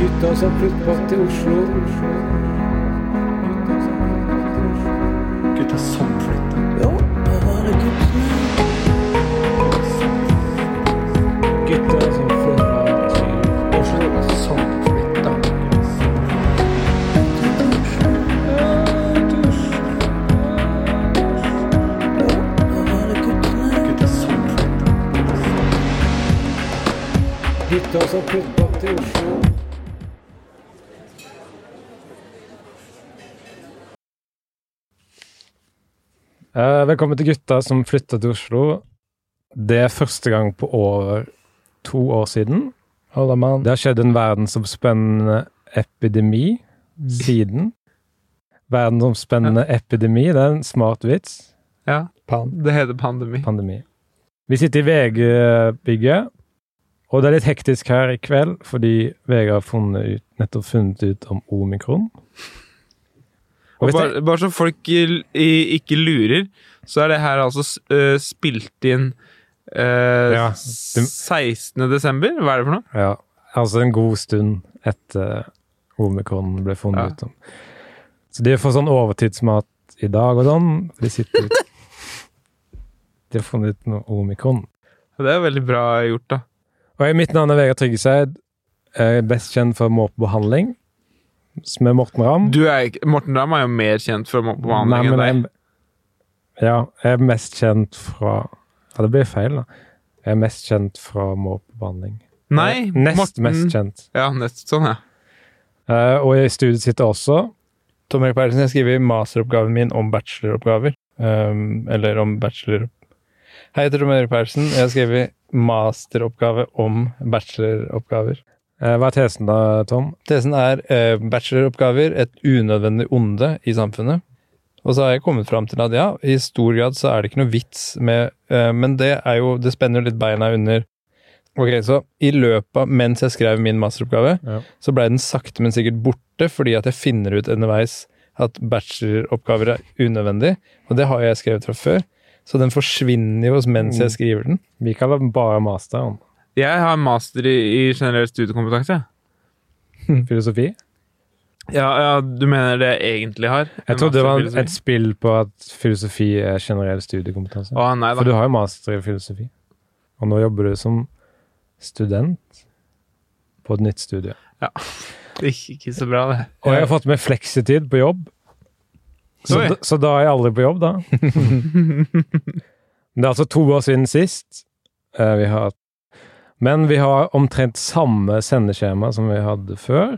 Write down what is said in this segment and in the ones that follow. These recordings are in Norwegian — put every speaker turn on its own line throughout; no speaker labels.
Gutta som flyttbåt til Oslo.
Gutta som flytter.
Gutta som flyttbåt til Oslo.
Som flytter. Gutta som flytter.
Gutta som flyttbåt til Oslo.
Eh, velkommen til gutta som flytta til Oslo. Det er første gang på over to år siden.
Holder man.
Det har skjedd en verdensomspennende epidemi siden. Verdensomspennende epidemi, det er en smart vits.
Ja,
Pan.
det heter pandemi.
Pandemi. Vi sitter i VG-bygget, og det er litt hektisk her i kveld fordi VG har funnet ut, nettopp funnet ut om omikron. Og
Og
hvis det,
bare, bare så folk i, i, ikke lurer, så er det her altså s- øh, spilt inn øh,
Ja, det-
16. desember. Hva er det for noe?
ja, altså en god stund etter omikron ble funnet
Ja.
ut om. Så de får sånn overtidsmat i dag og sånn. De sitter ut. De har funnet ut noe omikron.
Det er veldig bra gjort, da.
Og jeg- mitt navn er Vegard Tryggeseid. Jeg er best kjent for Måpebehandling, som er Morten Ramm.
Du er, ikke- Morten Ramm er jo mer kjent for mo- behandling enn
Nei,
deg.
men jeg, ja, jeg er mest kjent fra Ja, det blir feil, da. Jeg er mest kjent fra måpebehandling.
Nei,
Nest
Morten
mest kjent.
Ja, nest, sånn, ja.
Eh, og i studiet sitter også
Tom Erik Bertelsen, jeg skriver masteroppgaven min om bacheloroppgaver. Um, eller om bachelor... Hei, jeg heter Tom Erik Bertelsen. Jeg har skrevet masteroppgave om bacheloroppgaver.
eh, Hva er tesen da, Tom?
Tesen er eh, bacheloroppgaver et unødvendig onde i samfunnet. Og så har jeg kommet fram til at ja, i stor grad så er det ikke noe vits med eh, Men det er jo, det spenner jo litt beina under. Ok, så i løpet av, mens jeg skrev min masteroppgave,
Ja.
så blei den sakte, men sikkert borte, fordi at jeg finner ut underveis at bacheloroppgaver er unødvendig. Og det har jeg skrevet fra før. Så den forsvinner jo mens jeg skriver den.
Vi kaller den bare masteren.
Jeg har master i, i generell studiekompetanse.
Filosofi.
Ja, ja, du mener det jeg egentlig har? En
Jeg trodde det var
master i
et
filosofi?
spill på at filosofi er generell studiekompetanse.
Å, nei da.
For du har jo master i filosofi. Og nå jobber du som student på et nytt studie.
Ikke, ikke så bra, det.
Og jeg har fått med fleksitid på jobb. Så,
Oi.
da- så da er jeg aldri på jobb, da. Men det er altså to år siden sist eh, vi har Men vi har omtrent samme sendeskjema som vi hadde før,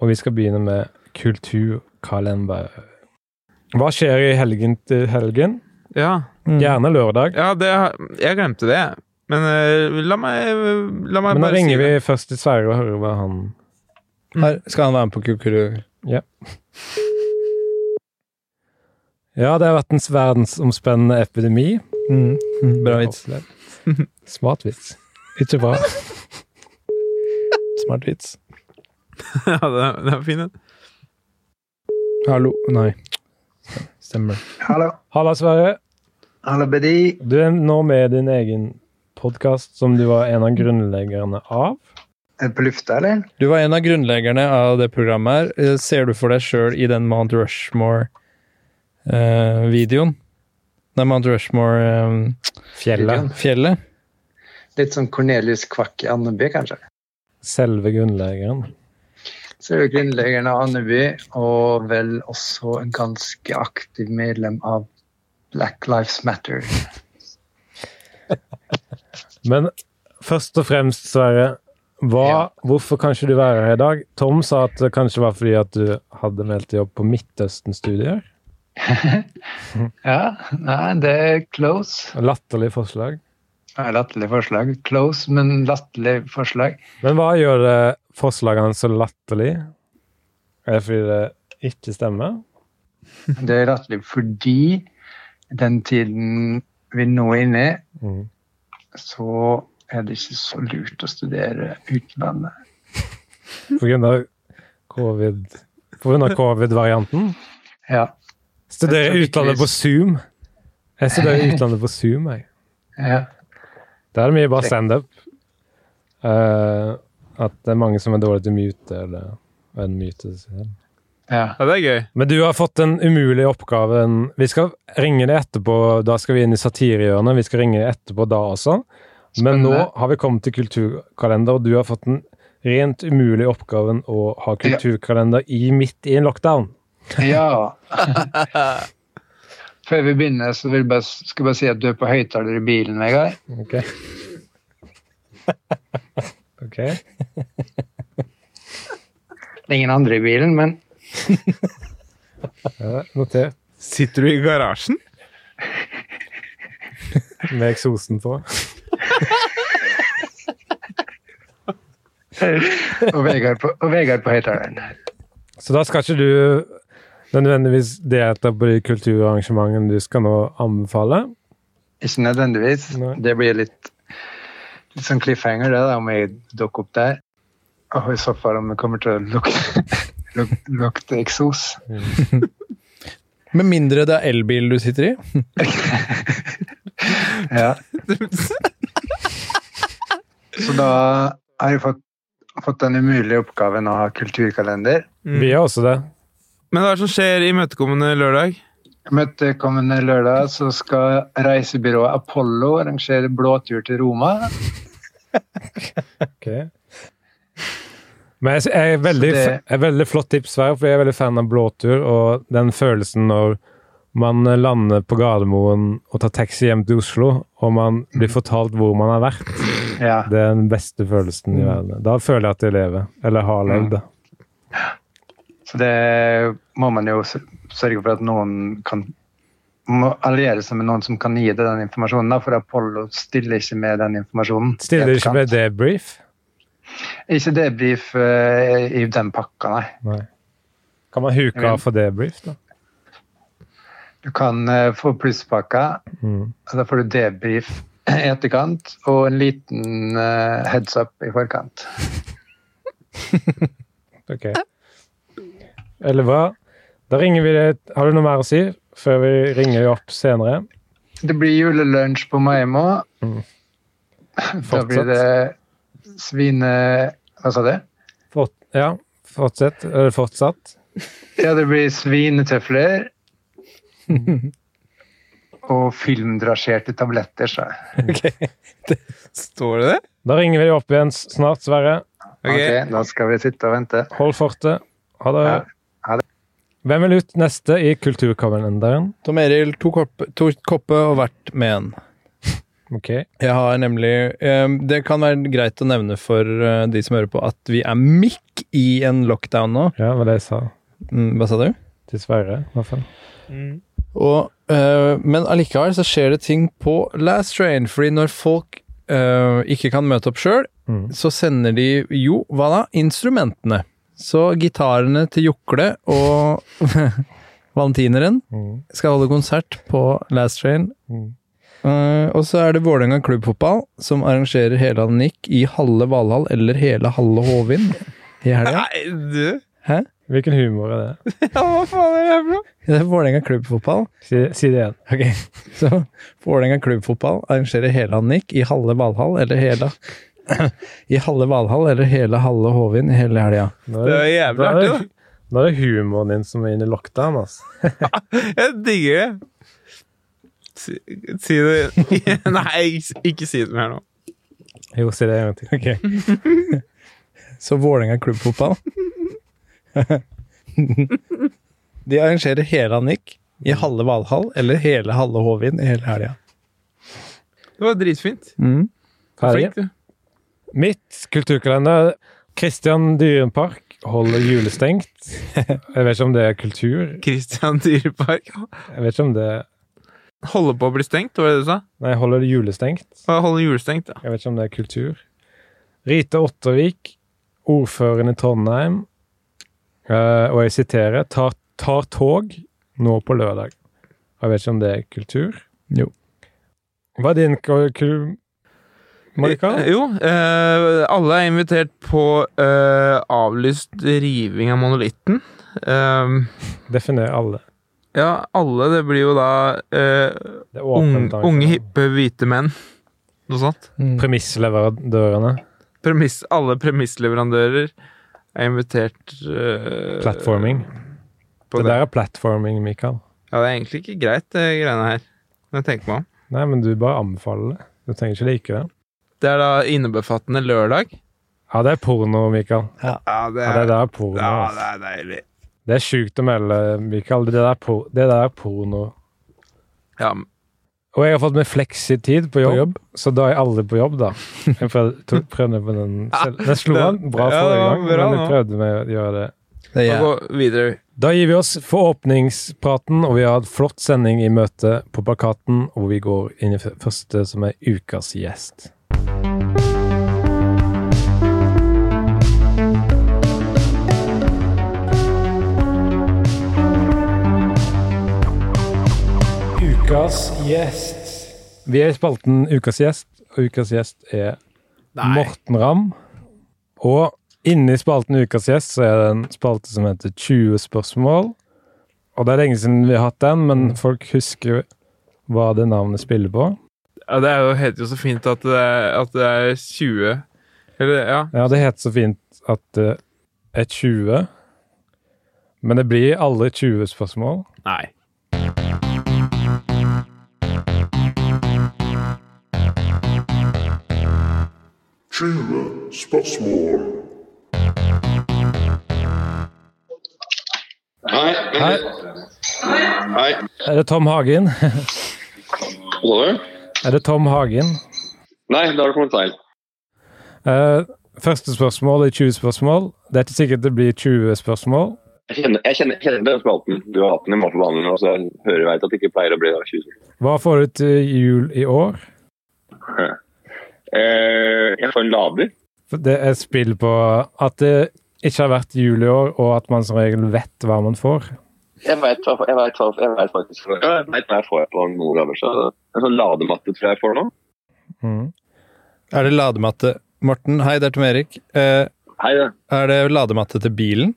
og vi skal begynne med kulturkalender. Hva skjer i helgen til helgen?
Ja.
Gjerne lørdag.
Ja, det, jeg glemte det. Men eh, la meg, la meg
Men da
bare
ringer
si
vi
det.
først til Sverre og hører hva han
Her skal han være med på Kukuru.
Ja, det har vært en verdensomspennende epidemi. Mm.
Bra vits.
Smart vits. Ikke bra.
Smart vits.
Ja, det, er- det er fint. det.
Hallo Nei. Stemmer.
Hallo.
Halla, Sverre.
Hallo, Bedi.
Du er nå med din egen podkast, som du var en av grunnleggerne av.
Er du på lufta, eller?
Du var en av grunnleggerne av det programmet her. Eh, Ser du for deg sjøl i den Mount Rushmore-videoen? Nei, Mount eh, Rushmore-fjellet.
Fjellet.
Litt sånn Cornelius Kvakk i Andeby, kanskje.
Selve grunnleggeren.
Så er du grunnleggeren av Andeby, og vel også en ganske aktiv medlem av Black Lives Matter.
Men først og fremst, Sverre, hva,
Ja.
hvorfor kan ikke du være her i dag? Tom sa at det kanskje var fordi at du hadde meldt deg opp på Midtøsten-studier.
Ja, nei, det er close.
Latterlig forslag.
Det er Latterlig forslag. Close, men latterlig forslag.
Men hva gjør det forslagene så latterlig? Er det fordi det ikke stemmer?
Det er latterlig fordi den tiden vi nå er inne i,
Mhm.
Mm. så er det ikke så lurt å studere utlandet.
På grunn av covid... På grunn av covid-varianten?
Ja,
Studerer
Jeg tror ikke
utlandet på Zoom. Jeg studerer utlandet på Zoom, jeg.
ja.
Der er det mye bare
Check.
standup. Eh, At det er mange som er dårlige til å mute, eller og en mute. seg selv.
Ja.
Ja, det er gøy.
Men du har fått den umulige oppgaven. Vi skal ringe deg etterpå, da skal vi inn i satirehjørnet. Vi skal ringe deg etterpå da også. Men nå
Spennende.
har vi kommet til kulturkalender, og du har fått den rent umulige oppgaven å ha kulturkalender i midt i en lockdown.
Ja. Før vi begynner, så vil jeg bare, skal jeg bare si at du er på høyttaler i bilen, Vegard.
Ok. Ok.
Det er ingen andre i bilen, men
Ja, notert.
Sitter du i garasjen?
Med eksosen på.
Og Vegard på, og Vegard på høyttaleren.
Så da skal ikke du nødvendigvis delta på de kulturarrangementene du skal nå anbefale.
Ikke nødvendigvis.
Nei.
Det blir litt, litt sånn cliffhanger, det, da, om jeg dukker opp der. Og i så fall om jeg kommer til å lukte, luk- lukte eksos.
Med mindre det er elbil du sitter i.
Ja. Så da har jeg fått, fått den umulige oppgaven å ha kulturkalender.
Vi gjør også det.
Men hva er det som skjer i møtekommende lørdag?
Møtekommende lørdag så skal reisebyrået Apollo arrangere blåtur til Roma.
Ok. Men jeg, sy- jeg er veldig,
Så det-
jeg er veldig flott tips, Sverre, for jeg er veldig fan av blåtur og den følelsen når man lander på Gardermoen og tar taxi hjem til Oslo, og man blir fortalt hvor man har vært.
Ja.
Det er den beste følelsen i verden. Da føler jeg at jeg lever. Eller har levd, da.
Så det må man jo s- sørge for at noen kan må alliere seg med noen som kan gi deg den informasjonen, da, for Apollo stiller ikke med den informasjonen.
Stiller ikke med debrief.
Ikke debrief eh, i den pakka, nei.
Nei. Kan man huke av for debrief, da?
Du kan eh, få plusspakka,
Mm.
og da får du debrief i etterkant, og en liten eh, heads up i forkant.
Ok. Eller hva? Da ringer vi deg. Har du noe mer å si før vi ringer deg opp senere?
Det blir julelunsj på Maimo.
Mm.
Da blir det svine... Hva sa du?
Fort, ja, fortsett. Eller fortsatt.
Ja, det blir svinetøfler. Og filmdrasjerte tabletter, sa jeg.
Står det det?
Da ringer vi deg opp igjen s- snart, Sverre.
Ok.
Ok, da skal vi sitte og vente.
Hold fortet. Ha det.
Ja, ha det.
Hvem vil ut neste i Kulturkalenderen?
Tom Eril, to koppe, to koppe og hvert med en.
Ok.
Jeg har nemlig eh, Det kan være greit å nevne for eh, de som hører på, at vi er midt i en lockdown nå.
Ja, det var det jeg sa
Mm, Hva sa du?
til Sverre, i hvert fall.
Og, eh, men allikevel så skjer det ting på Last Train, fordi når folk eh, ikke kan møte opp sjøl,
Mm.
så sender de jo, hva da, instrumentene. Så gitarene til Jukle og valentineren
Mm.
skal holde konsert på Last Train.
Mm.
Eh, og så er det Vålerenga klubbfotball som arrangerer hele Nick i halve Valhall eller hele halve Hovin i helga.
Nei, du!
Hvilken humor er det?
Ja, hva faen er det her for noe?
Det er Vålerenga klubbfotball.
Si, si det igjen.
Ok, så Vålerenga klubbfotball arrangerer hele Annik i halve Valhall, eller hele I halve Valhall, eller hele halve Hovin hele helga.
Nå
Det var jævlig
nå er det-
artig,
Nå er det humoren din som er inne i lockdown, altså.
Jeg digger det. Si, si det Nei, ikke- ikke si det mer nå.
Jo, si det en gang til.
Ok. Så Vålerenga klubbfotball De arrangerer hele Annik i halve Valhall, eller hele halve Hovin hele helga.
Det var dritfint.
Mm.
Ferdig.
Flink, du.
Mitt kulturkalender Kristian Dyrenpark holder julestengt. Jeg vet ikke om det er kultur.
Christian Dyrepark.
Jeg vet ikke om det
Holder på å bli stengt, var det det du sa?
Nei, holder det julestengt.
Og Holder julestengt, ja.
Jeg vet ikke om det er kultur. Rita Ottervik, ordføreren i Trondheim, eh, og jeg siterer tar, tar tog nå på lørdag. Jeg vet ikke om det er kultur.
Jo.
Hva er din kultur, Marika?
Eh, Jo, eh, alle er invitert på eh, avlyst riving av monolitten. Eh,
Definer alle.
ja, alle. Det blir jo da eh,
Det er
ung,
åpent.
Mm.
unge, hippe, hvite menn. Noe sånt.
Premissleverandørene.
premiss, alle premissleverandører er invitert eh,
Platforming.
På
det
det.
der er platforming, Mikael.
Ja, det er egentlig ikke greit, det greiene her. Når jeg tenker meg om.
Nei, men du bare anbefaler det. Du trenger ikke like det.
Det er da innebefattende lørdag.
Ja, det er porno, Mikael.
Ja, det
Ja, det der er porno.
ja,
ass.
det er deilig.
Det er sjukt å melde, Mikael. Det der, er por det der er porno.
Ja,
Og jeg har fått med fleksitid på jobb, så da er jeg aldri på jobb, da. Jeg prøv- tok- prøvde på den selv. Den slo
Ja,
an bra
det- ja,
forrige
det var
gang,
bra
men jeg
nå.
prøvde med å gjøre det.
Det
og
er jeg.
gå videre.
Da gir vi oss for åpningspraten, og vi har hatt flott sending i møte på plakaten, hvor vi går inn i f- første som er ukas gjest. Ukas gjest. Vi er i spalten Ukas gjest, og ukas gjest er Morten Ramm. Og inni spalten Ukas gjest så er det en spalte som heter 20 spørsmål. Og det er lenge siden vi har hatt den, men folk husker hva det navnet spiller på.
Ja, det er jo, heter jo så fint at det er, at det er 20 Eller, ja.
Ja, det heter så fint at det er 20. Men det blir aldri 20 spørsmål.
Nei.
Tjena, spörsmål.
Hei.
Hei,
Hei.
er det Tom Hagen?
Hva sa du?
Er det Tom Hagen?
Nei, da har du kommet feil.
Eh, første spørsmål er 20 spørsmål. Det er ikke sikkert det blir 20 spørsmål.
Jeg kjenner, jeg kjenner, kjenner den spalten. Du har hatt den i mange behandlinger, så jeg hører jeg vet at det ikke pleier å bli 20 spørsmål.
Hva får du til jul i år?
Eh, jeg får en lader.
For Det er spill på at det ikke har vært jul i år, og at man som regel vet hva man får.
Jeg vet, hva- jeg vet, hva- jeg vet faktisk hva jeg vet hva jeg får på noen lader. Så en sånn ladematte tror jeg jeg får nå.
Mm.
Er det ladematte? Morten, hei, det er Tom Erik. Eh,
Hei, det.
er det ladematte til bilen?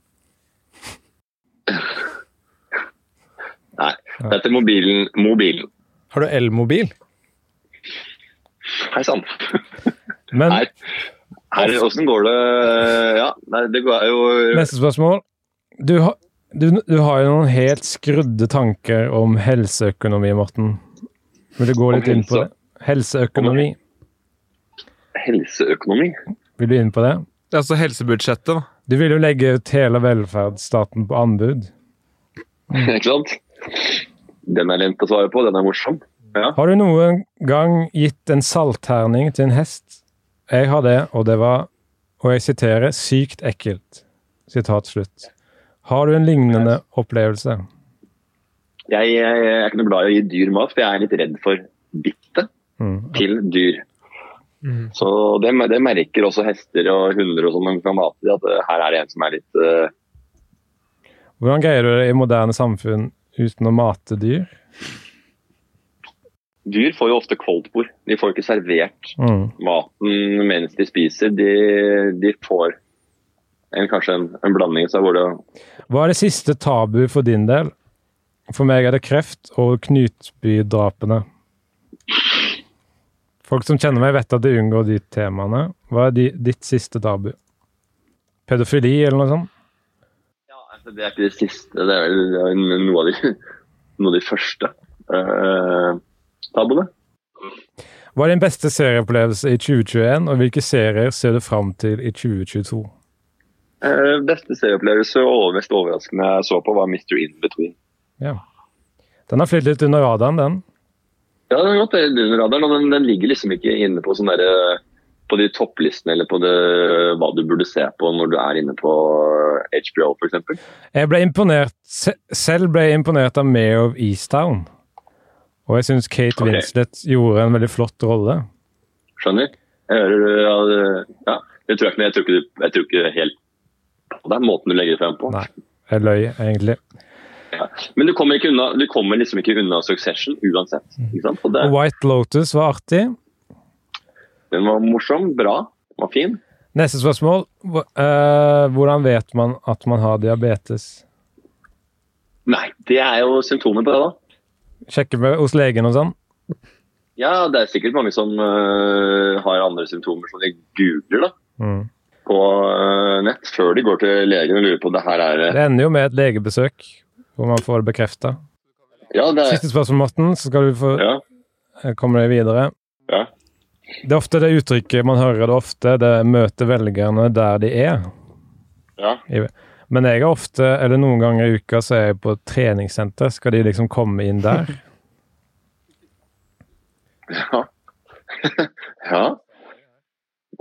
Nei, det er til mobilen. mobilen.
Har du elmobil?
Hei sann.
Men
Nei. Her, hvordan går det Ja, nei, det går jo
neste spørsmål. Du, har- du, du har jo noen helt skrudde tanker om helseøkonomi, Morten. Vil du gå
Om
litt inn på
helse?
det? Helseøkonomi.
Helseøkonomi.
Vil du inn på det?
Det er altså helsebudsjettet, da.
Du vil jo legge ut hele velferdsstaten på anbud.
Ikke sant? Den er lent å svare på. Den er morsom. Ja.
Har du noen gang gitt en saltterning til en hest? Jeg har det, og det var, og jeg siterer, sykt ekkelt. Sitat slutt. Har du en lignende opplevelse?
Jeg, jeg, jeg er ikke noe glad i å gi dyr mat, for jeg er litt redd for bittet
Mm.
til dyr. Så det, det merker også hester og hunder og sånn når vi kan mate dem, at eh, her er det en som er litt eh,
Hvordan greier du det i moderne samfunn uten å mate dyr?
Dyr får jo ofte koldtbord. De får ikke servert
Mm.
maten mens de spiser. De, de får en, kanskje en, en blanding. Så hvor det,
Hva er det siste tabu for din del? For meg er det kreft og Knutby-drapene. Folk som kjenner meg, vet at de unngår de temaene. Hva er de, ditt siste tabu? Pedofili, eller noe sånt?
ja, altså, det er ikke det siste, det er vel noe av de, noe av de første uh, tabuene.
Hva er din beste serieopplevelse i 2021, og hvilke serier ser du fram til i 2022?
Eh, Beste serieopplevelse og mest overraskende jeg så på, var Mr. In Between.
Den har flyttet litt under radaren, den.
Ja, den har gått helt under radaren, og den, den ligger liksom ikke inne på sånn derre på de topplistene eller på det, hva du burde se på når du er inne på HBO f.eks.
Jeg ble imponert, se- selv ble jeg imponert av Mayor of Easttown. Og jeg syns Kate
Ok.
Winslet gjorde en veldig flott rolle.
Skjønner? Jeg hører du ja, det- ja, det tror jeg ikke, men jeg tror ikke, du- jeg tror ikke helt på den måten du legger det frem på.
Nei. Jeg løy, egentlig.
Ja. Men du kommer, ikke unna, du kommer liksom ikke unna Succession uansett. Ikke sant? Og det,
Mm. Og White Lotus var artig.
den var morsom, bra, den var fin.
Neste spørsmål. Hva- eh, hvordan vet man at man har diabetes?
Nei, det er jo symptomer på det, da.
Sjekke med, hos legen og sånn?
eh, Ja, det er sikkert mange som øh, har andre symptomer som de googler, da.
Mm.
på eh, nett før de går til legen og lurer på det her er eh,
Det ender jo med et legebesøk, hvor man får det bekrefta.
Ja, det er
Siste spørsmål, Morten, så skal du få
ja.
komme deg Eh, videre.
Ja.
Det er ofte det uttrykket man hører det ofte, det er 'møte velgerne der de er'.
Ja.
Men jeg er ofte, eller noen ganger i uka, så er jeg på et treningssenter. Skal de liksom komme inn der?
Ja. ja.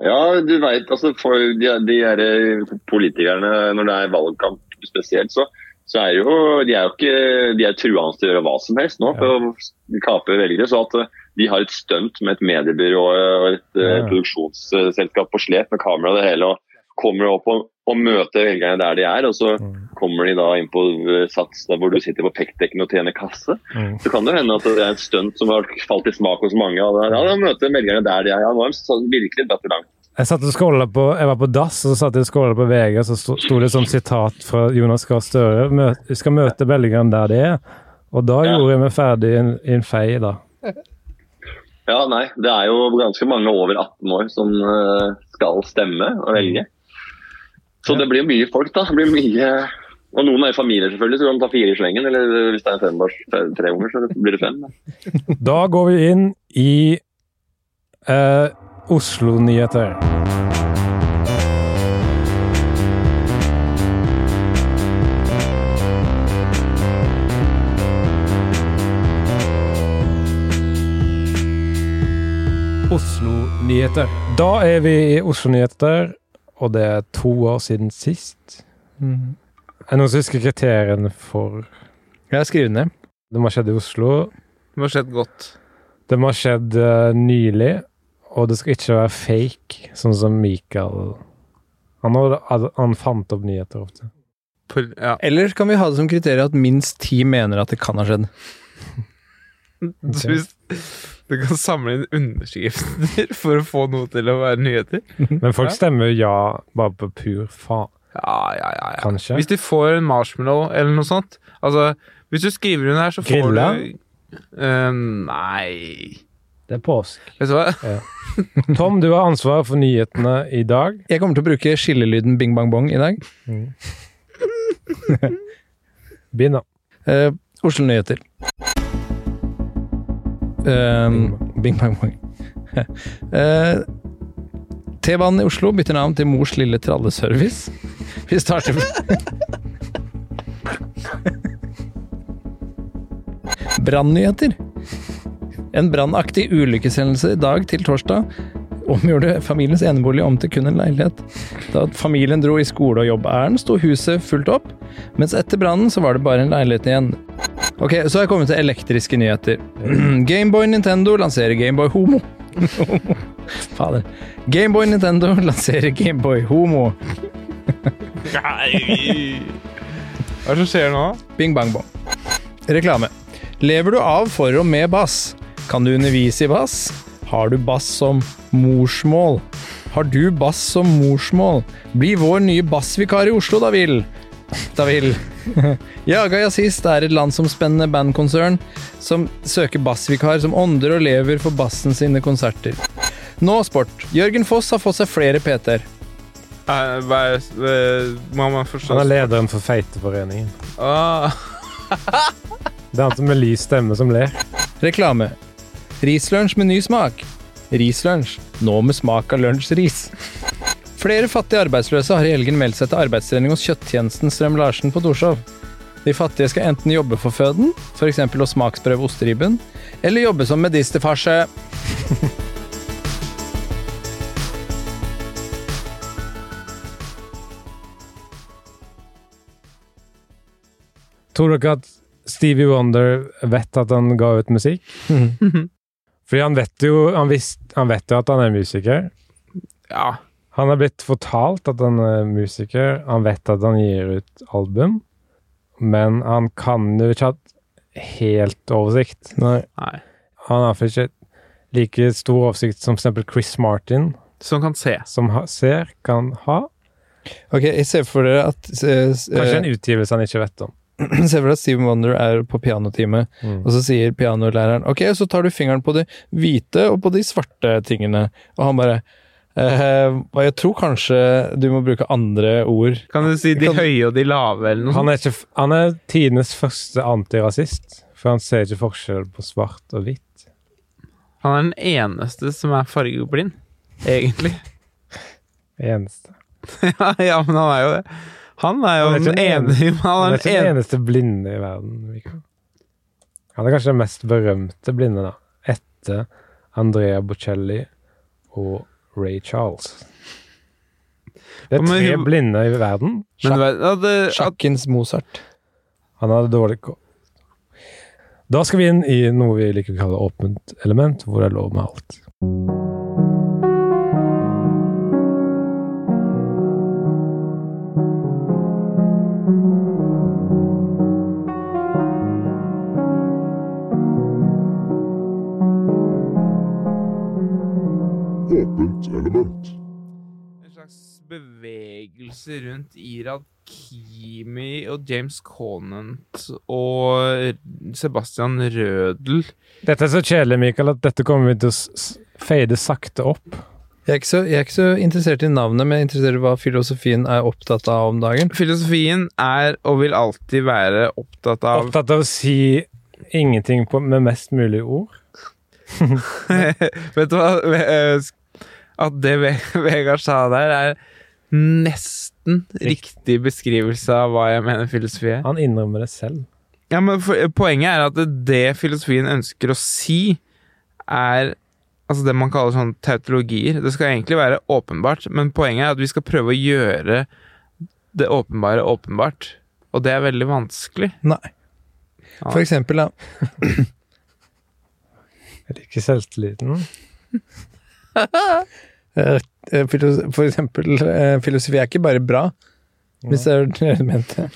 Ja, du veit altså for de, de her eh, politikerne, når det er valgkamp spesielt, så, så er jo de er jo ikke de er truende til å gjøre hva som helst nå for å kape velgere. Så at eh, de har et stunt med et mediebyrå og et eh,
Ja.
produksjonsselskap på slep med kamera og det hele, og kommer opp og, og møter velgerne der de er. Og så
Mm.
kommer de da inn på eh, Sats, der hvor du sitter på Pektekken og tjener kasse.
Mm.
Så kan det hende at det er et stunt som har falt i smak hos mange. Og da, ja, da møter velgerne der de er. Ja, nå har de sånn virkelig dratt det langt.
Jeg satt og scrollet på, jeg var på dass, og så satt jeg og scrollet på VG, og så sto sto det som sitat fra Jonas Gahr Støre «Mø- Vi skal møte velgerne der de er. Og da
Ja.
gjorde jeg meg ferdig i en, i en fei, da.
Ja, nei. Det er jo ganske mange over 18 år som eh, skal stemme og velge. Så det blir jo mye folk, da. Det blir mye Og noen er i familier, selvfølgelig, så kan de ta fire i slengen. Eller hvis det er fembars, tre unger, så blir det fem.
Da går vi inn i eh, Oslo-nyheter. Oslo-nyheter. Da er vi i Oslo-nyheter, og det er to år siden sist.
Mhm.
Er det noen som husker kriteriene for
Jeg har skrevet ned.
det som har skjedd i Oslo?
Det må ha skjedd godt.
Det må ha skjedd eh, nylig, og det skal ikke være fake, sånn som Mikael Han, har, han fant opp nyheter ofte.
På, ja.
Eller kan vi ha det som kriterium at minst ti mener at det kan ha skjedd?
Så Mm. hvis du kan samle inn underskrifter for å få noe til å være nyheter
Men folk stemmer jo ja bare på pur faen,
Ja, ja, ja. ja.
kanskje.
Hvis de får en marshmallow eller noe sånt Altså, hvis du skriver under her, så får
Grilla?
du Ehm, nei
Det er påsk.
Vet du hva?
Tom, du har ansvaret for nyhetene i dag.
Jeg kommer til å bruke skillelyden bing bang bong i dag.
Begynn, da.
Eh, Oslo Nyheter. Eh,
Bing
Bing bang bong. Eh, T-banen i Oslo bytter navn til Mors lille tralleservice. Vi starter Brannnyheter. En brannaktig ulykkeshendelse i dag til torsdag omgjorde familiens enebolig om til kun en leilighet. Da familien dro i skole- og jobbærend, sto huset fullt opp, mens etter brannen så var det bare en leilighet igjen. Ok, så har jeg kommet til elektriske nyheter. Gameboy Nintendo lanserer Gameboy Homo. Fader. Gameboy Nintendo lanserer Gameboy Homo.
Hva er det som skjer nå?
Bing bang bong. Reklame. Lever du av for og med bass? Kan du undervise i bass? Har du bass som morsmål? Har du bass som morsmål? Bli vår nye bassvikar i Oslo, da vil. Da vil. Jaga Jazzist er et landsomspennende bandkonsern som søker bassvikar som ånder og lever for bassen sine konserter. Nå sport. Jørgen Foss har fått seg flere PT-er.
Eh, hva er eh, Må man forstå
Han er lederen for Feiteforeningen.
ah,
Det er han som med lys stemme som ler.
Reklame. Rislunsj med ny smak. Rislunsj, nå med smak av lunsjris. Flere fattige arbeidsløse har i helgen meldt seg til arbeidstrening hos kjøtttjenesten Strøm-Larsen på Torshov. De fattige skal enten jobbe for føden, f.eks. å smaksprøve osteribben, eller jobbe som medisterfarse.
Tror dere at Stevie Wonder vet at han ga ut musikk? Mhm. Fordi han vet jo, han visst, han vet jo at han er musiker.
Ja.
Han er blitt fortalt at han er musiker. Han vet at han gir ut album, men han kan jo ikke ha hatt helt oversikt.
Nei.
Han har for ikke like stor oversikt som for eksempel Chris Martin,
Som Sånn kan se.
som ha, ser, kan ha.
Ok, jeg ser for dere at eh,
Kanskje en utgivelse han ikke vet om.
Jeg ser for deg at Steven Wonder er på pianotime,
Mm.
og så sier pianolæreren Ok, så tar du fingeren på de hvite og på de svarte tingene. Og han bare Eh, og jeg tror kanskje du må bruke andre ord.
Kan du si de
Kan-
høye og de lave, eller noe sånt?
Han er, ikke, f- han er tidenes første antirasist, for han ser ikke forskjell på svart og hvitt.
Han er den eneste som er fargeblind, egentlig.
Eneste.
ja, ja, men han er jo det. Han er jo
Han er ikke
den
den
ene
Han
Han
er
er
ikke den
den ene
eneste blinde i verden. Mikael. Han er kanskje den mest berømte blinde, da. Etter Andrea Bocelli og Ray Charles. Det er
Men
tre
hun-
blinde i verden.
Men du vet at,
Eh,
det- at
Sjakkens Mozart.
Han hadde dårlig kår. Da skal vi inn i noe vi liker å kalle åpent element, hvor det er lov med alt.
en slags bevegelse rundt Irad Kimi og James Conant og Sebastian Rødel
Dette er så kjedelig, Mikael, at dette kommer vi til å s- s- fade sakte opp.
Jeg er, ikke så, jeg er ikke så interessert i navnet, men jeg er interessert i hva filosofien er opptatt av om dagen.
Filosofien er og vil alltid være opptatt av
Opptatt av å si ingenting på, med mest mulig ord.
Vet du hva? Ve- eh, sk- At det Ve- Vegard sa der, er nesten riktig beskrivelse av hva jeg mener filosofi er.
Han innrømmer det selv.
Ja, men for, eh, Poenget er at det, det filosofien ønsker å si, er altså det man kaller sånn tautologier. Det skal egentlig være åpenbart, men poenget er at vi skal prøve å gjøre det åpenbare åpenbart. Og det er veldig vanskelig.
Nei.
Ja.
For eksempel, da.
Jeg liker selvtilliten.
Eh, eh, filos- For eksempel, eh, filosofi er ikke bare bra, hvis det er det du mente.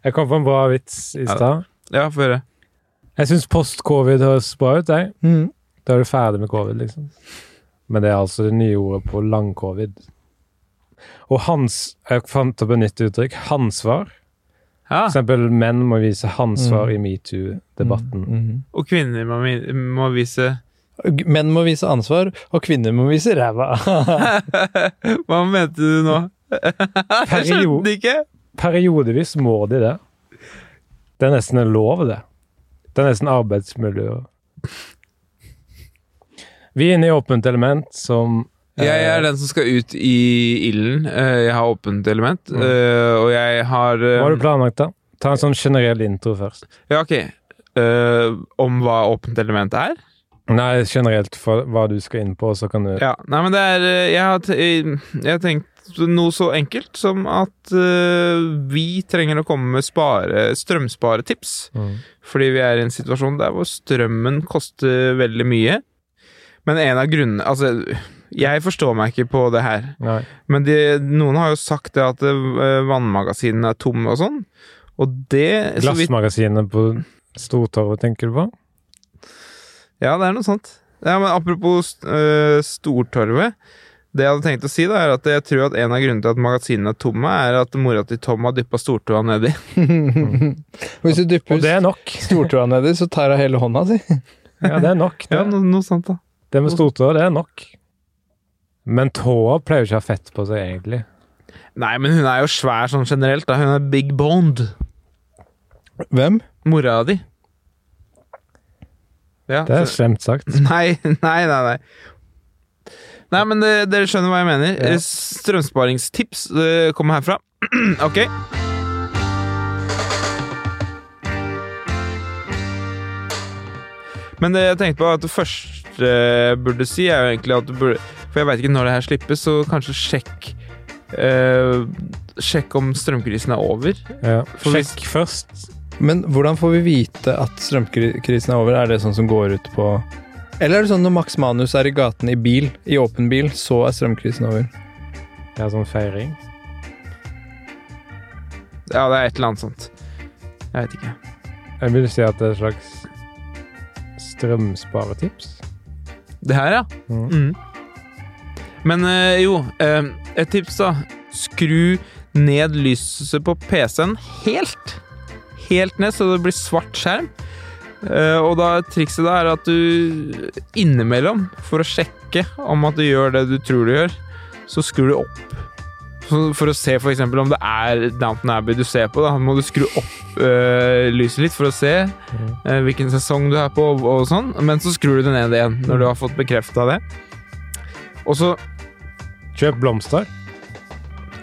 Jeg kom på en bra vits i
Ja.
stad.
Ja, få høre.
Jeg syns post-covid høres bra ut, jeg.
Mm.
Da er du ferdig med covid, liksom. Men det er altså det nye ordet på lang-covid. Og hans Jeg fant opp et nytt uttrykk. Hansvar.
Ja,
For eksempel menn må vise hansvar i metoo-debatten.
Mhm.
og kvinner må, mi- må vise
Menn må vise ansvar, og kvinner må vise ræva.
Hva mente du nå? Jeg
Perio-
skjønte ikke!
Periodevis må de det. Det er nesten en lov, det. Det er nesten arbeidsmiljø. Vi er inne i åpent element som
Jeg
Eh,
er den som skal ut i ilden. Eh, Jeg har åpent element, eh, og jeg har eh,
Mm. Hva har du planlagt, da? Ta en sånn generell intro først.
Ja, ok. Eh, om hva åpent element er?
Nei, generelt for hva du skal inn på, så kan du
Ja. Nei, men det er eh, Jeg har, te jeg har tenkt noe så enkelt som at eh, vi trenger å komme med spare, strømsparetips.
Mm.
Fordi vi er i en situasjon der hvor strømmen koster veldig mye. Men en av grunnene Altså, jeg forstår meg ikke på det her.
Nei.
Men de, noen har jo sagt det at eh, vannmagasinene er tomme og sånn. Og det så vidt,
Glassmagasinet på Stortorvet, tenker du på?
Ja, det er noe sånt. Ja, men apropos eh, Stortorvet. Det jeg hadde tenkt å si, da, er at jeg tror at en av grunnene til at magasinene er tomme, er at mora til Tom har dyppa stortåa nedi.
Hvis du dypper
Og det er nok.
stortåa nedi, så tar hun hele hånda si.
Ja, det er nok. Det,
Ja, no, noe sånt, da.
det med stortå, det er nok. Men tåa pleier jo ikke å ha fett på seg, egentlig.
Nei, men hun er jo svær sånn generelt, da. Hun er big boned.
Hvem?
Mora di. Ja,
Det
så-
er slemt sagt.
Nei, nei, nei. nei. Nei, men eh, dere skjønner hva jeg mener.
Ja.
Eh, Strømsparingstips eh, kommer herfra. ok. Men det jeg tenkte på, at det første jeg burde si, er jo egentlig at du burde For jeg veit ikke når det her slippes, så kanskje sjekk eh, Sjekk om strømkrisen er over.
Ja.
For hvis-
Sjekk først.
Men hvordan får vi vite at strømkrisen er over? Er det sånn som går ut på Eller er det sånn når Max Manus er i gaten i bil, i åpen bil, så er strømkrisen over?
Ja, sånn feiring.
Ja, det er et eller annet sånt. Jeg veit ikke.
Jeg vil si at det er et slags strømsparetips.
Det her, ja.
Mm.
Mm. Men eh, jo, eh, et tips, da. Skru ned lyset på PC-en helt. Helt ned, så det blir svart skjerm. Eh, og da trikset da er at du innimellom, for å sjekke tanke om at du gjør det du tror du gjør, så skrur du opp. Så for å se for eksempel om det er Downton Abbey du ser på, da må du skru opp øh, lyset litt for å se øh, hvilken sesong du er på, og, og sånn. Men så skrur du det ned igjen når du har fått bekrefta det. Og så
Kjøp blomster.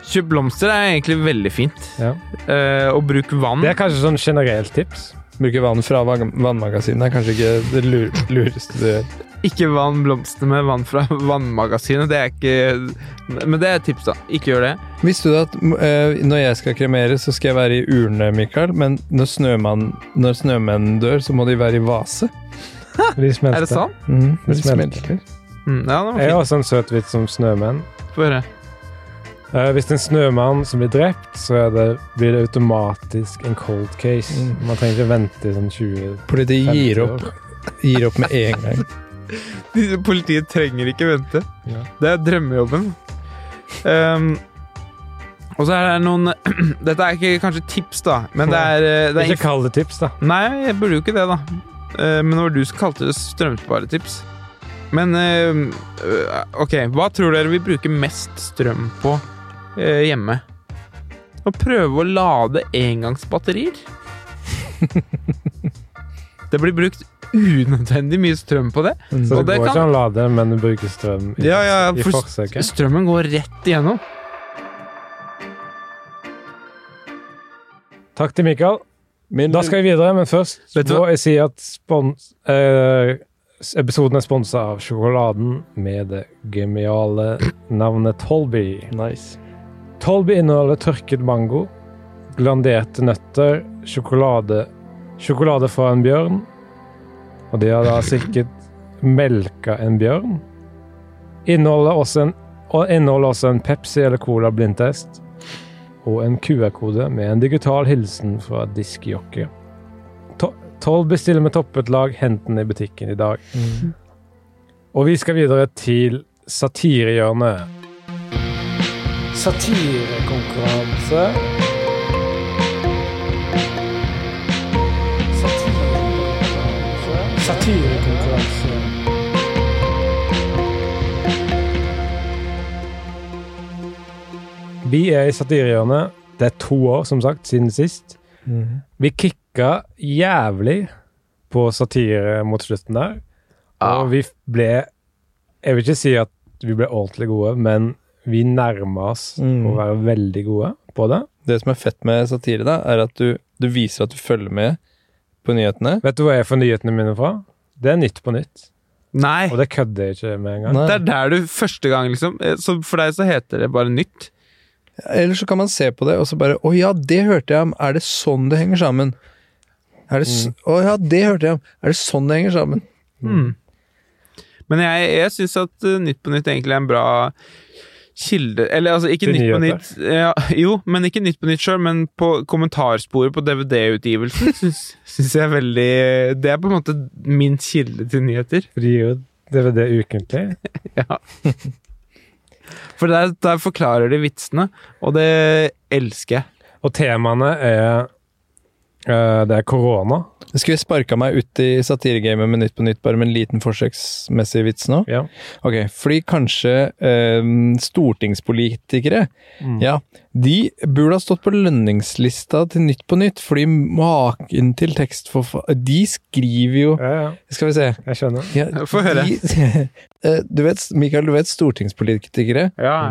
Kjøp blomster er egentlig veldig fint.
Ja.
Eh, og bruk vann.
Det er kanskje sånn generelt tips.
Bruke vann fra vann- vannmagasinet er kanskje ikke det lur- lureste du gjør.
Ikke vann blomster med vann fra vannmagasinet. Det er ikke Men det er et tips, da. Ikke gjør det.
Visste du at m- eh, når jeg skal kremere, så skal jeg være i urne, Mikael, men når, snømann, når snømennene dør, så må de være i vase?
De smelter.
Er det sant?
Mm.
De
De
Mhm. smelter.
Mm, ja, det var
Jeg har
fint.
også en søt vits om snømenn.
Få høre.
Eh, hvis det er en snømann som blir drept, så er det, blir det automatisk en cold case.
Mm.
Man trenger ikke vente i sånn 20
Politiet gir
50
opp,
år.
gir opp med en gang.
De- Politiet trenger ikke vente.
Ja.
Det er drømmejobben. Ehm, og så er det noen Dette er ikke kanskje tips, da, men det er, eh, det er
Ikke kall det tips, da.
Nei, jeg burde jo ikke det, da. Eh, Men det var du som kalte det strømsparetips. Men eh, øh, OK, hva tror dere vi bruker mest strøm på eh, hjemme? Å prøve å lade engangsbatterier. det blir brukt unødvendig mye strøm på det.
Så
Mm.
det,
Og det
går
kan-
ikke an å lade, men du bruker strøm i,
Ja, ja,
i
for-
forsøket.
Strømmen går rett igjennom.
Takk til Mikael.
Men
Da skal vi videre, men først
Vet du
må jeg si at spons, eh, s- episoden er sponsa av sjokoladen med det geniale navnet Tolby.
Nice.
Tolby inneholder tørket mango, glanderte nøtter, sjokolade, sjokolade fra en bjørn, og de har da sikkert melka en bjørn. Inneholder også en, og inneholder også en Pepsi eller Cola blindtest, og en QR-kode med en digital hilsen fra diskjockey. To- Tolby stiller med toppet lag, hent den i butikken i dag. Og vi skal videre til satirehjørnet. Satirekonkurranse. Satirekonkurranse. Satirekonkurranse. Vi er i satirehjørnet. Det er to år, som sagt, siden sist. Vi kicka jævlig på satire mot slutten der.
Ja.
Og vi ble Jeg vil ikke si at vi ble ordentlig gode, men vi nærma oss
Mm.
å være veldig gode på det.
Det som er fett med satire, da, er at du, du viser at du følger med på nyhetene.
Vet du hvor jeg får nyhetene mine fra? Det er Nytt på Nytt.
Nei.
Og det kødder jeg ikke med engang.
Det er der du første gang, liksom. eh, Så for deg så heter det bare nytt.
Eller så kan man se på det og så bare Å ja, det hørte jeg om. Er det sånn det henger sammen? Er det s Å ja, det hørte jeg om. Er det sånn det henger sammen?
Mm. Men jeg, jeg syns at eh, Nytt på Nytt egentlig er en bra kilde Eller altså, ikke
Til
Nytt på
nyheter.
Nytt ja, Jo, men ikke Nytt på Nytt sjøl, men på kommentarsporet på DVD-utgivelsen syns jeg er veldig Det er på en måte min kilde til nyheter.
For de gir jo DVD ukentlig.
For der, der forklarer de vitsene, og det elsker jeg.
Og temaene er eh, Det er korona.
Jeg skulle sparka meg ut i satiregamet med Nytt på Nytt, bare med en liten forsøksmessig vits nå.
Ja.
Ok, fordi kanskje øhm, stortingspolitikere, ja, de burde ha stått på lønningslista til Nytt på Nytt, fordi maken til tekst for De skriver jo
Ja, ja,
Skal vi se.
jeg skjønner.
Ja,
Få høre.
de- Eh, du vet, Mikael, du vet stortingspolitikere?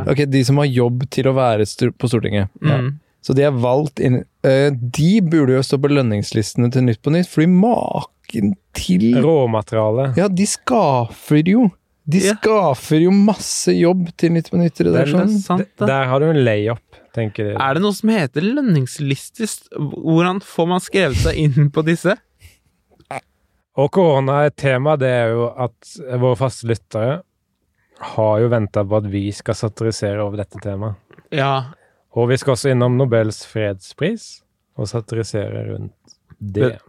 Ok, de som har jobb til å være stu- på Stortinget.
Mm.
Så de er valgt inn eh, De burde jo stå på lønningslistene til Nytt på Nytt, fordi maken til
Råmateriale.
Ja, de skaffer jo De
Ja.
skaffer jo masse jobb til Nytt
Det
på
er
Nytt-redaksjonen.
sant, det.
Der har du en layup, tenker de.
Er det noe som heter lønningslistist? Hvordan får man skrevet seg inn på disse?
Og korona er et tema, det er jo at våre faste lyttere har jo venta på at vi skal satirisere over dette temaet.
Ja,
Og vi skal også innom Nobels fredspris og satirisere rundt det.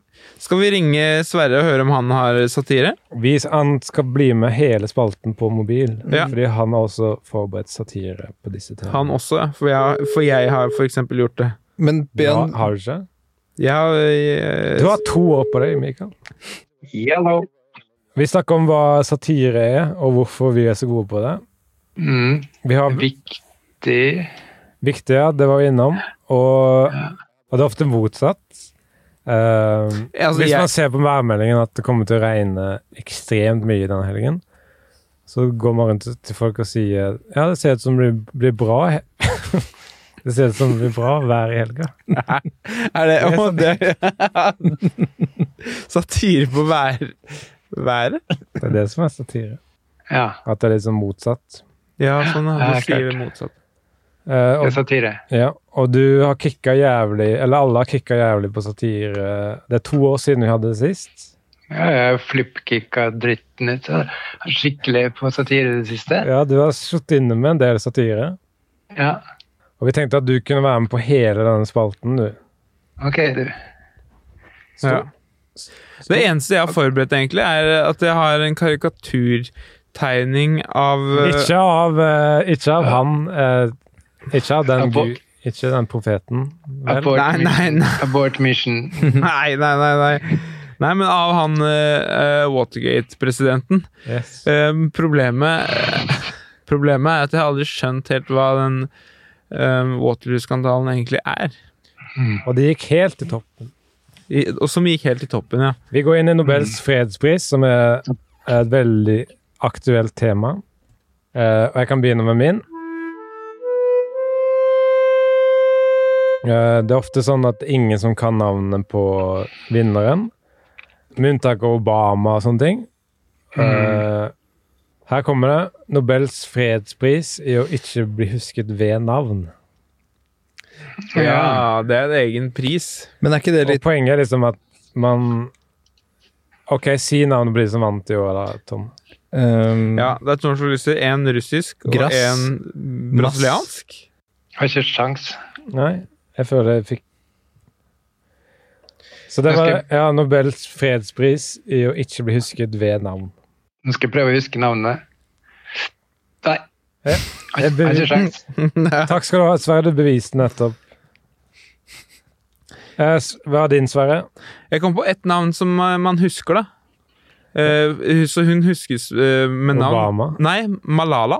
Skal vi ringe Sverre og høre om han har satire?
Vi, han skal bli med hele spalten på mobil,
Ja.
fordi han har også forberedt satire på disse temaene.
Han også, ja. for jeg, for jeg har for eksempel gjort det.
Men
ja,
Ben,
har du ikke?
Jeg har eh,
Du har to år på deg, Mikael.
Yellow.
Vi snakker om hva satire er, og hvorfor vi er så gode på det.
Mm.
Vi har
Viktig
viktige, det var vi innom, og, og det er ofte motsatt. Eh,
Ja, altså,
hvis
jeg-
man ser på værmeldingen at det kommer til å regne ekstremt mye denne helgen, så går man rundt til folk og sier ja, det ser ut som det blir bra he- Det ser ut som det blir bra vær i helga.
Er sånn- det, å, det Satire på vær, været?
Det er det som er satire.
Ja,
At det er liksom motsatt.
Ja, sånn er
Ja,
det. Skriver
klart.
motsatt.
Eh,
det er
og,
satire.
ja, og du har kicka jævlig, eller alle har kicka jævlig på satire. Det er to år siden vi hadde det sist.
Ja, jeg flipkicka dritten ut av det. skikkelig på satire i det siste.
Ja, du har sittet inne med en del satire.
Ja,
Og vi tenkte at du kunne være med på hele denne spalten, du.
ok, du.
Ja. Det eneste jeg har forberedt, egentlig, er at jeg har en karikaturtegning av
Ikke av, eh, ikke av han eh, Ikke av den,
Apo-
gu- ikke den profeten. Vel?
Abort
Nei, nei,
mission.
nei.
Abort mission.
Nei, nei, nei. nei. Nei, men av han eh, eh, Watergate-presidenten.
Yes.
Eh, problemet Problemet er at jeg har aldri skjønt helt hva den eh, Waterloo-skandalen egentlig er.
Og det gikk helt til toppen.
I, og som gikk helt i toppen, ja.
Vi går inn i Nobels
Mm.
fredspris, som er et veldig aktuelt tema. Eh, og jeg kan begynne med min. Eh, det er ofte sånn at ingen som kan navnet på vinneren, med unntak av Obama og sånne ting.
Mm.
Eh, her kommer det. Nobels fredspris i å ikke bli husket ved navn.
Ja, det er en egen pris.
Men er ikke det
Og
litt
poenget er liksom at man OK, si navnet på de som vant i år, da, Tom.
ehm,
Ja, det er to journalister. En russisk og
Grass.
en brasiliansk.
Har ikke sjans.
Nei, jeg føler jeg fikk Så det var ja, Nobels fredspris i å ikke bli husket ved navn.
Nå skal jeg prøve å huske navnet. Nei,
Jeg
har ikke
bevi-
sjans.
Takk skal du ha, Sverre. Du beviste nettopp. Eh, s- Hva er din, Sverre?
Jeg kom på ett navn som eh, man husker, da. Eh, så hun huskes eh, med navn
Obama.
Nei, Malala.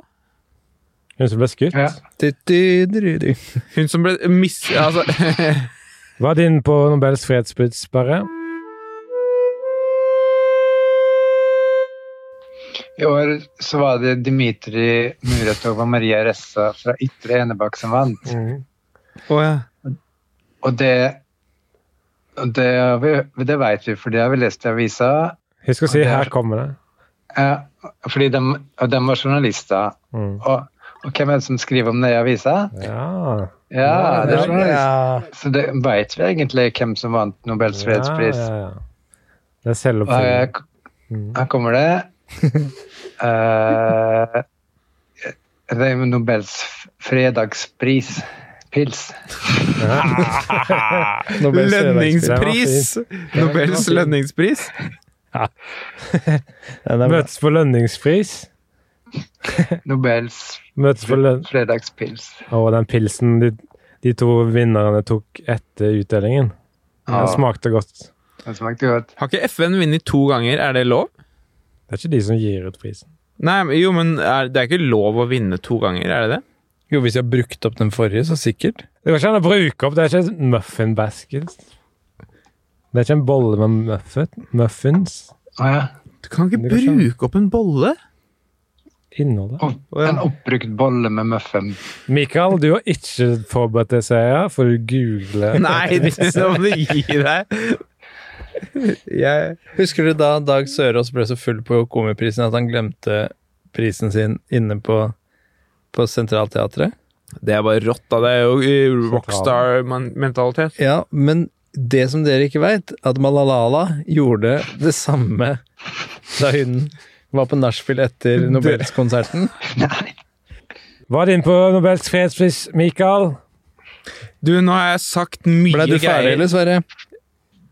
Hun som ble skutt?
Ja.
du, du, du, du, du.
Hun som ble mis... Altså
Hva er din på Nobels fredspris, Sverre?
I år så var det Dmitri Muratov og Maria Ressa fra Ytre Enebakk som vant.
Å, ja.
Og det og det, har vi- det vet vi, for det har vi lest i avisa.
Husk å si
Ja, det er-
'her kommer det'.
Eh, fordi de, og de var journalister.
Mm.
Og, og hvem er det som skriver om det i avisa?
Ja.
Ja, det er journalister.
Ja,
Så det vet vi egentlig hvem som vant Nobels fredspris.
ja, ja. Det er
Og her,
selvoppfyllende. Mm.
her kommer det. Eh, det er jo Nobels fredagspris. Pils.
Nobels fredagspris.
Lønningspris! Nobels lønningspris.
Ja, det er bra.
Møtes for lønningspris.
Nobels
Møtes for lønn...
fredagspils.
Og den pilsen de, de to vinnerne tok etter utdelingen.
Ja.
Den smakte godt.
Den smakte godt.
Har ikke FN vunnet to ganger? Er det lov?
Det er ikke de som gir ut prisen.
Nei, men- jo, men er, det er ikke lov å vinne to ganger, er det det?
Jo, hvis jeg har brukt opp den forrige, så sikkert.
Det går ikke an å bruke opp. Det er ikke en muffin basket. Det er ikke en bolle med muffin, muffins.
Å ja.
Du kan ikke
Det går ikke an.
bruke opp en bolle!
Innholdet.
Opp, en oppbrukt bolle med muffin.
Mikael, du har ikke forberedt deg, ser jeg, for du googler.
Nei, det må du gi deg! Jeg
Husker du da Dag Sørås ble så full på Komiprisen at han glemte prisen sin inne på, på Sentralteatret?
Det er bare rått, da. Det er jo eh, rockstar-mentalitet.
Ja, men det som dere ikke veit, at Malalala gjorde det samme da hun var på nachspiel etter Nobelskonserten.
Nei.
Hva er din på Nobels fredspris, Mikael?
Du, nå har jeg sagt mye
Blei du ferdig,
greier.
eller, Sverre?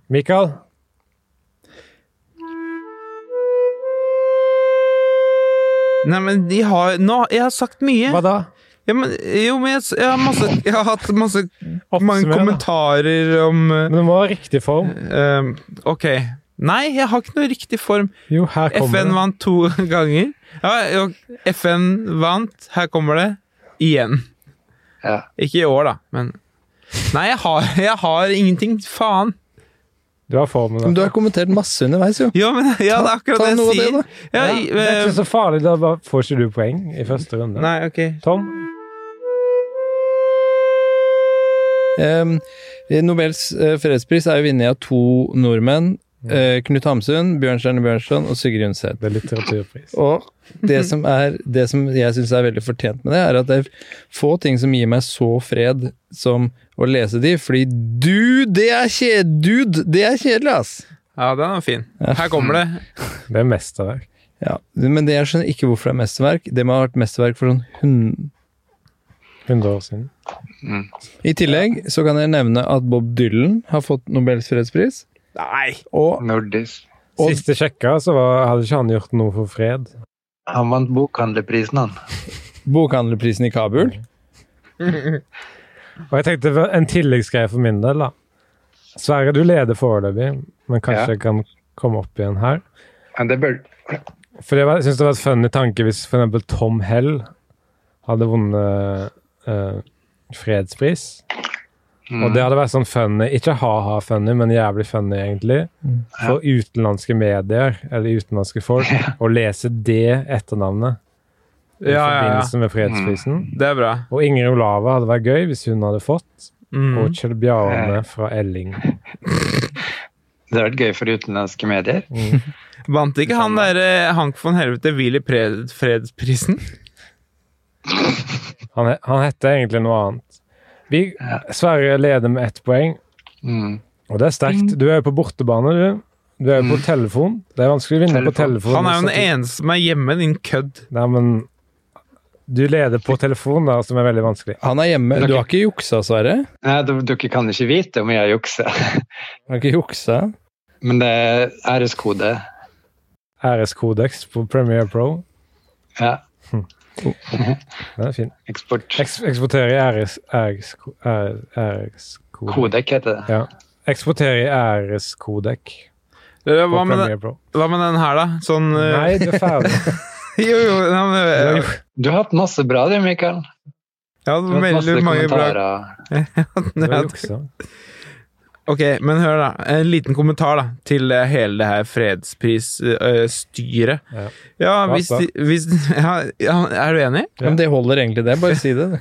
Mikael?
Nei, men de har Nå, jeg har sagt mye.
Hva da?
Ja, men, jo, men jeg, s- jeg, har masse, jeg har hatt masse mange
Oppsummer, da.
kommentarer om eh,
Men det må være riktig form.
eh, Ok, Nei, jeg har ikke noe riktig form.
Jo, her kommer
FN
det.
vant to ganger. Ja, jo, FN vant. Her kommer det. Igjen.
Ja.
Ikke i år, da, men Nei, jeg har, jeg har ingenting. Faen.
Du har formen.
Men
da.
du har kommentert masse underveis, jo.
Ja, men ja, det er akkurat
Ta
det
noe
jeg
av det,
sier.
da.
Ja,
Ja, i-
det er ikke så farlig, da bare får ikke du poeng i første runde.
Nei, ok.
Tom?
Ehm, Nobels eh, fredspris er jo vunnet av to nordmenn. eh, Knut Hamsun, Bjørnstjerne Bjørnson og Sigrid Undset.
Det er litteraturpris.
Og det som, er, det som jeg syns er veldig fortjent med det, er at det er få ting som gir meg så fred som å lese de, fordi du, det er kje- dude, det er kjedelig, ass!
Ja, den var fin. Her kommer det.
Det er mesterverk.
Ja, men det jeg skjønner ikke hvorfor det er mesterverk. Det må ha vært mesterverk for sånn hund...
100 år siden.
I tillegg så kan jeg nevne at Bob Dylan har fått Nobels fredspris,
Nei!
og
Nordisk.
Og-
Siste sjekka, så var, hadde ikke han gjort noe for fred.
Han vant bokhandlerprisen, han.
bokhandlerprisen i Kabul.
Og jeg tenkte en tilleggsgreie for min del, da. Sverre, du leder foreløpig, men kanskje
Ja.
jeg kan komme opp igjen her.
Men det bør
For det var- jeg synes det var et funny tanke hvis for eksempel Tom Hell hadde vunnet eh, fredspris. Og det hadde vært sånn funny, ikke ha-ha-funny, men jævlig funny, egentlig. For utenlandske medier, eller utenlandske folk, å lese det etternavnet i
Ja, ja, ja.
forbindelse med fredsprisen.
Mm.
Det er bra.
Og Ingrid Olava hadde vært gøy hvis hun hadde fått.
Mm.
Og Kjell
Eh.
Bjarne fra Elling.
Det har vært gøy for utenlandske medier.
Vant ikke han derre Hank von Helvete Willy Pred- Fredsprisen?
Han, he- han heter egentlig noe annet. Vi, Sverre leder med ett poeng,
Mm.
og det er sterkt. Du er jo på bortebane, du. Du er jo på telefon. Det er vanskelig å vinne på
Mm.
telefon.
Telefon.
Han er jo den eneste som er hjemme, din kødd.
Nei, men du leder på telefon, da, som er veldig vanskelig.
Han er hjemme. Du har ikke juksa, Sverre?
Nei, d- dere kan ikke vite om jeg jukser,
Du har ikke juksa?
men det er æreskode.
RS-kodeks på Premiere Pro. Hm.
Ja,
Den er fin.
eksport.
Eks eksporterer i RS-kodek.
Kodek heter det.
Ja. Eksporterer i RS-kodek
Eller
på
Eh, Hva med, den,
Premiere Pro.
hva med den her, da? Sånn eh,
Nei, du er ferdig.
Jo, jo, ja, men,
Du har hatt masse bra, du, Mikael.
jeg
Du
hadde
har hatt
veldig
masse
mange bra
kommentarer.
Det var
Ja,
juksa.
Ok, men hør da. En liten kommentar da, til eh, hele det her fredsprisstyret.
Ja.
Ja,
Bra,
hvis,
bra.
de- hvis ja, ja, Er du enig?
Ja.
Men det holder egentlig, det. Bare si det. du.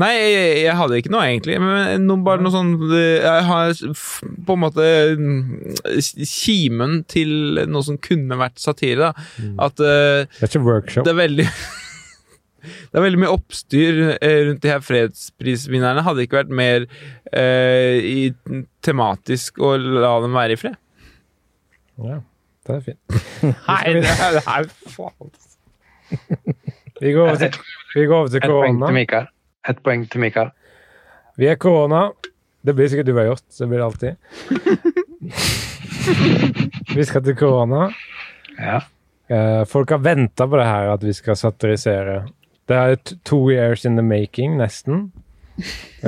Nei, jeg, jeg hadde ikke noe egentlig. Men noe, bare noe sånn eh, Jeg har f- på en måte mm, kimen til noe som kunne vært satire. da.
Mm.
At eh,
Det er ikke workshop.
det er veldig Det er veldig mye oppstyr eh, rundt de her fredsprisvinnerne. Hadde det ikke vært mer eh, i, tematisk å la dem være i fred.
Ja, det er fint.
Nei, det er, det er faen.
Vi går over til, vi går over til
Et poeng til
korona.
Mikael. Et poeng til Mikael.
Vi er korona. Det blir sikkert du har gjort. Det blir det alltid. Vi skal til korona.
Ja.
Eh, Folk har venta på det her, at vi skal satirisere. Det er t- two years in the making, nesten. Eh,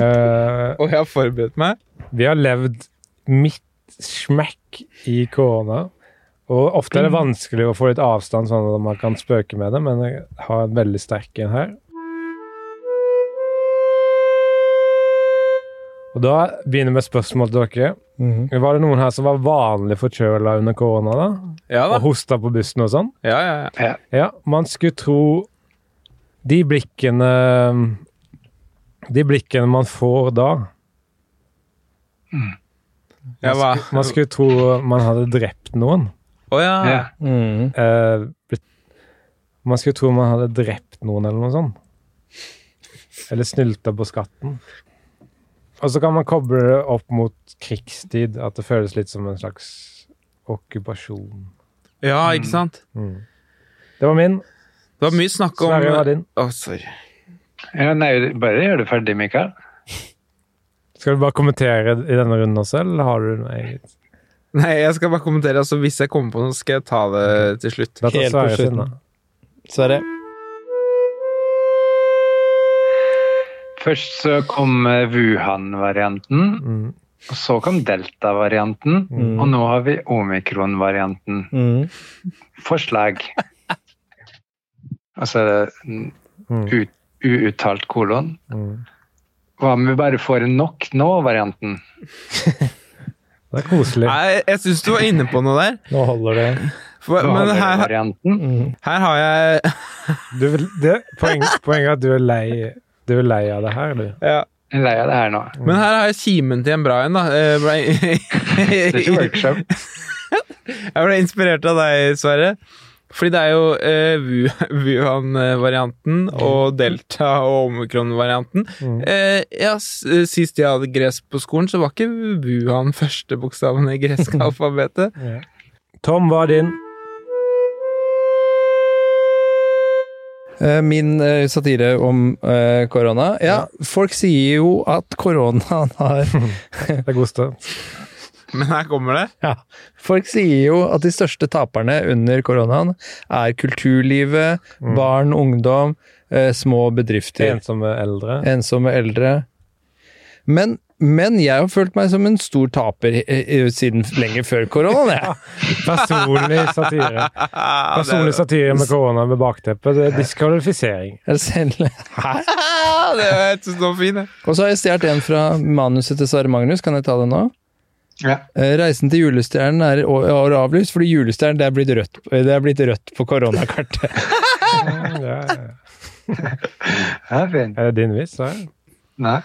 Og jeg har forberedt meg.
Vi har levd midt smekk i korona. Og ofte er det vanskelig å få litt avstand, sånn at man kan spøke med det, men jeg har en veldig sterk en her. Og da begynner vi med spørsmål til dere. Var det noen her som var vanlig forkjøla under korona? da?
Ja da.
Og hosta på bussen og sånn?
Ja, ja, ja.
Ja, man skulle tro De blikkene De blikkene man får da
Jeg var,
Man skulle tro man hadde drept noen.
Å, ja.
Ja.
Mm.
Eh, blitt- man skulle tro man hadde drept noen, eller noe sånt. Eller snylta på skatten. Og så kan man koble det opp mot krigstid, at det føles litt som en slags okkupasjon.
ja, ikke sant?
Det var min.
Det var mye snakk om
Sverre var din.
Å, sorry.
ja, nei, bare gjør det ferdig, Mikael.
Skal du bare kommentere i denne runden også, eller har du noe eget?
Nei, jeg skal bare kommentere. Altså, hvis jeg kommer på noe, skal jeg ta det til slutt.
Da tar
Helt på
Sverre sin,
slutten.
da.
Sverre.
Først så kom eh, Wuhan-varianten.
Mm.
Og så kom delta-varianten,
Mm.
og nå har vi omikron-varianten.
Mm.
Forslag. Altså mm, ut, uuttalt kolon.
Mm.
Hva om vi bare får en nok nå-varianten?
Det er koselig.
Nei, jeg syns du var inne på noe der.
Nå holder det.
For, men her,
varianten.
Mm.
her har jeg
Du, vil- det, poeng, poenget er at du er lei, du er lei av det her, du.
ja.
Jeg er lei av det her nå.
Men her har jeg kimen til en bra en, da. Eh, ble-
Det er ikke workshop.
Jeg ble inspirert av deg, Sverre. Fordi det er jo eh, Wu- Wuhan-varianten og delta- og omikron-varianten. Eh, ja, s- Sist jeg hadde gresk på skolen, så var ikke Wuhan første bokstaven i gresk alfabetet.
Tom, hva er din?
Eh, Min eh, satire om eh, korona. Ja, folk sier jo at koronaen har
Det er god start.
Men her kommer det.
ja. Folk sier jo at de største taperne under koronaen er kulturlivet, barn, ungdom, eh, små bedrifter,
Ensomme eldre.
ensomme eldre. Men, men jeg har følt meg som en stor taper eh, eh, siden lenge før koronaen, jeg.
Personlig satire.
Ah, det er-
Personlig satire med korona ved bakteppet. Det er diskvalifisering.
Jeg selv- Hæ?
Ah, det var, jeg synes det var fint, det.
Og så har jeg stjålet en fra manuset til Sverre Magnus, kan jeg ta den nå?
Ja.
Eh, Reisen til julestjernen er i år år avlyst, fordi julestjernen det er blitt rødt, det er blitt rødt på koronakartet.
Ja, ja, ja.
Det er fint.
Er det din vits? Ja,
Nei.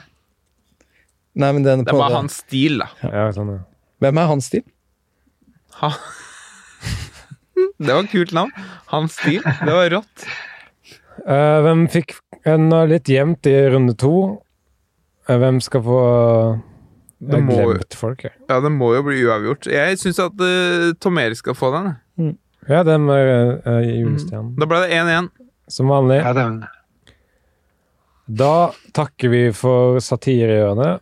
Nei, men den
Det
på
er bare
det.
hans stil, da.
ja sånn, ja.
Hvem er hans stil?
Ha. Det var et kult navn. Hans stil. Det var rått.
Eh, hvem fikk en eh, litt jevnt i runde to? Eh, hvem skal få Jeg
Det
har
må,
glemt folk, jeg.
ja, det må jo bli uavgjort. Jeg syns at uh, Tom Erik skal få den. jeg.
Ja, den med eh, julestjernen.
Da ble det 1-1.
Som vanlig.
Ja, det er-
Da takker vi for satirehjørnet.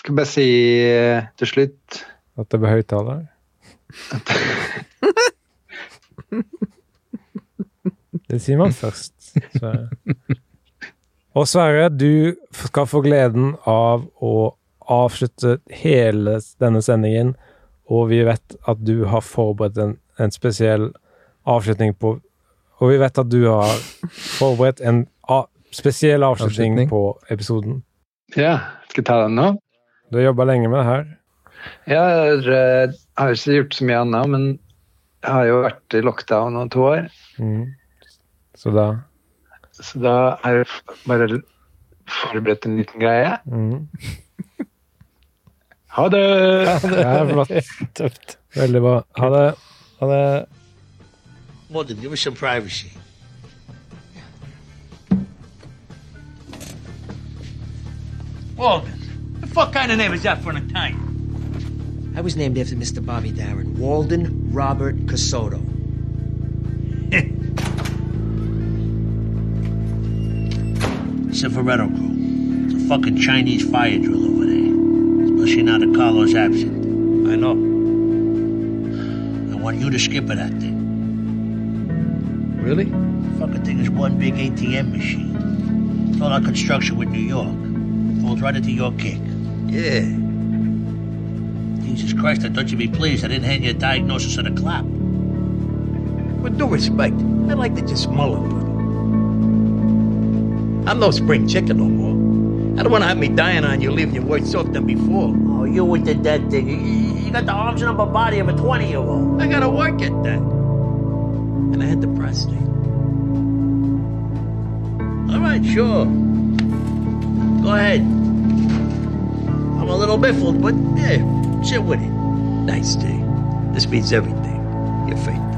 skal bare si eh, til slutt
At det ble høyttaler. Det sier man først. Sverre. Og Sverre, du skal få gleden av å avslutte hele denne sendingen. Og vi vet at du har forberedt en, en spesiell avslutning på Og vi vet at du har forberedt en a, spesiell avslutning,
Avslutning.
på episoden.
Ja, skal jeg ta den nå?
Du har jobba lenge med det her.
Ja, Jeg har, eh, har ikke gjort så mye annet, men jeg har jo vært i lockdown nå to år.
Mm. Så da
Så da har jeg f- bare forberedt en liten greie.
mm.
Ha det!
Det er flott.
Tøft.
Veldig bra. Ha det.
Ja, det
Mother, give me some privacy.
Walden. The fuck kind of name is that for an Italian?
I was named after Mr. Bobby Darin, Walden Robert Casoto. Silveretto Crew. It's a fucking Chinese fire drill over there. Especially now that Carlo's absent.
I know.
I want you to skip of that thing.
Really?
Fucking thing is one big ATM machine. It's all our construction with New York. Falls right into your kick. Yeah. Jesus Christ, I thought you'd be pleased. I didn't hand you a diagnosis of the clap.
With due respect, I'd like to just mull it a little. I'm no spring chicken no more. I don't want to have me dying on you, leaving you worse off than before.
Oh, you with the dead thing. You- You got the arms and upper body of a 20 year old.
I gotta work at that. And I had the prostate.
All right, sure. Go ahead. I'm a little biffled, but yeah, sit with it.
Nice day. This means everything. You're faithful.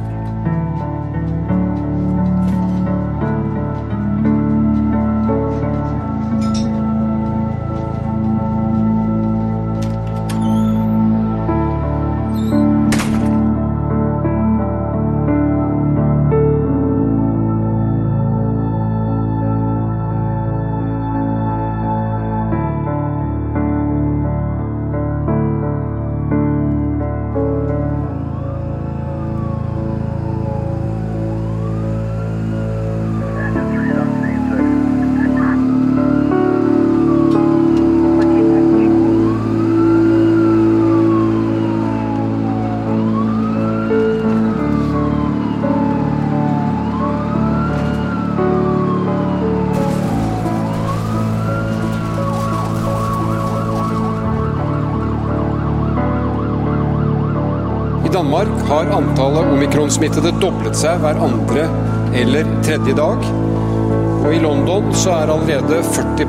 Danmark har antallet omikron-smittede doblet seg hver andre eller tredje dag. Og i London så er allerede 40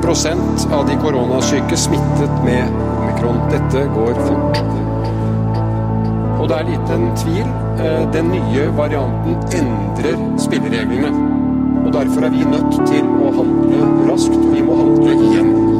av de koronasyke smittet med omikron. Dette går fort. Og det er liten tvil. eh, Den nye varianten endrer spillereglene. Og derfor er vi nødt til å handle raskt. Vi må handle igjen.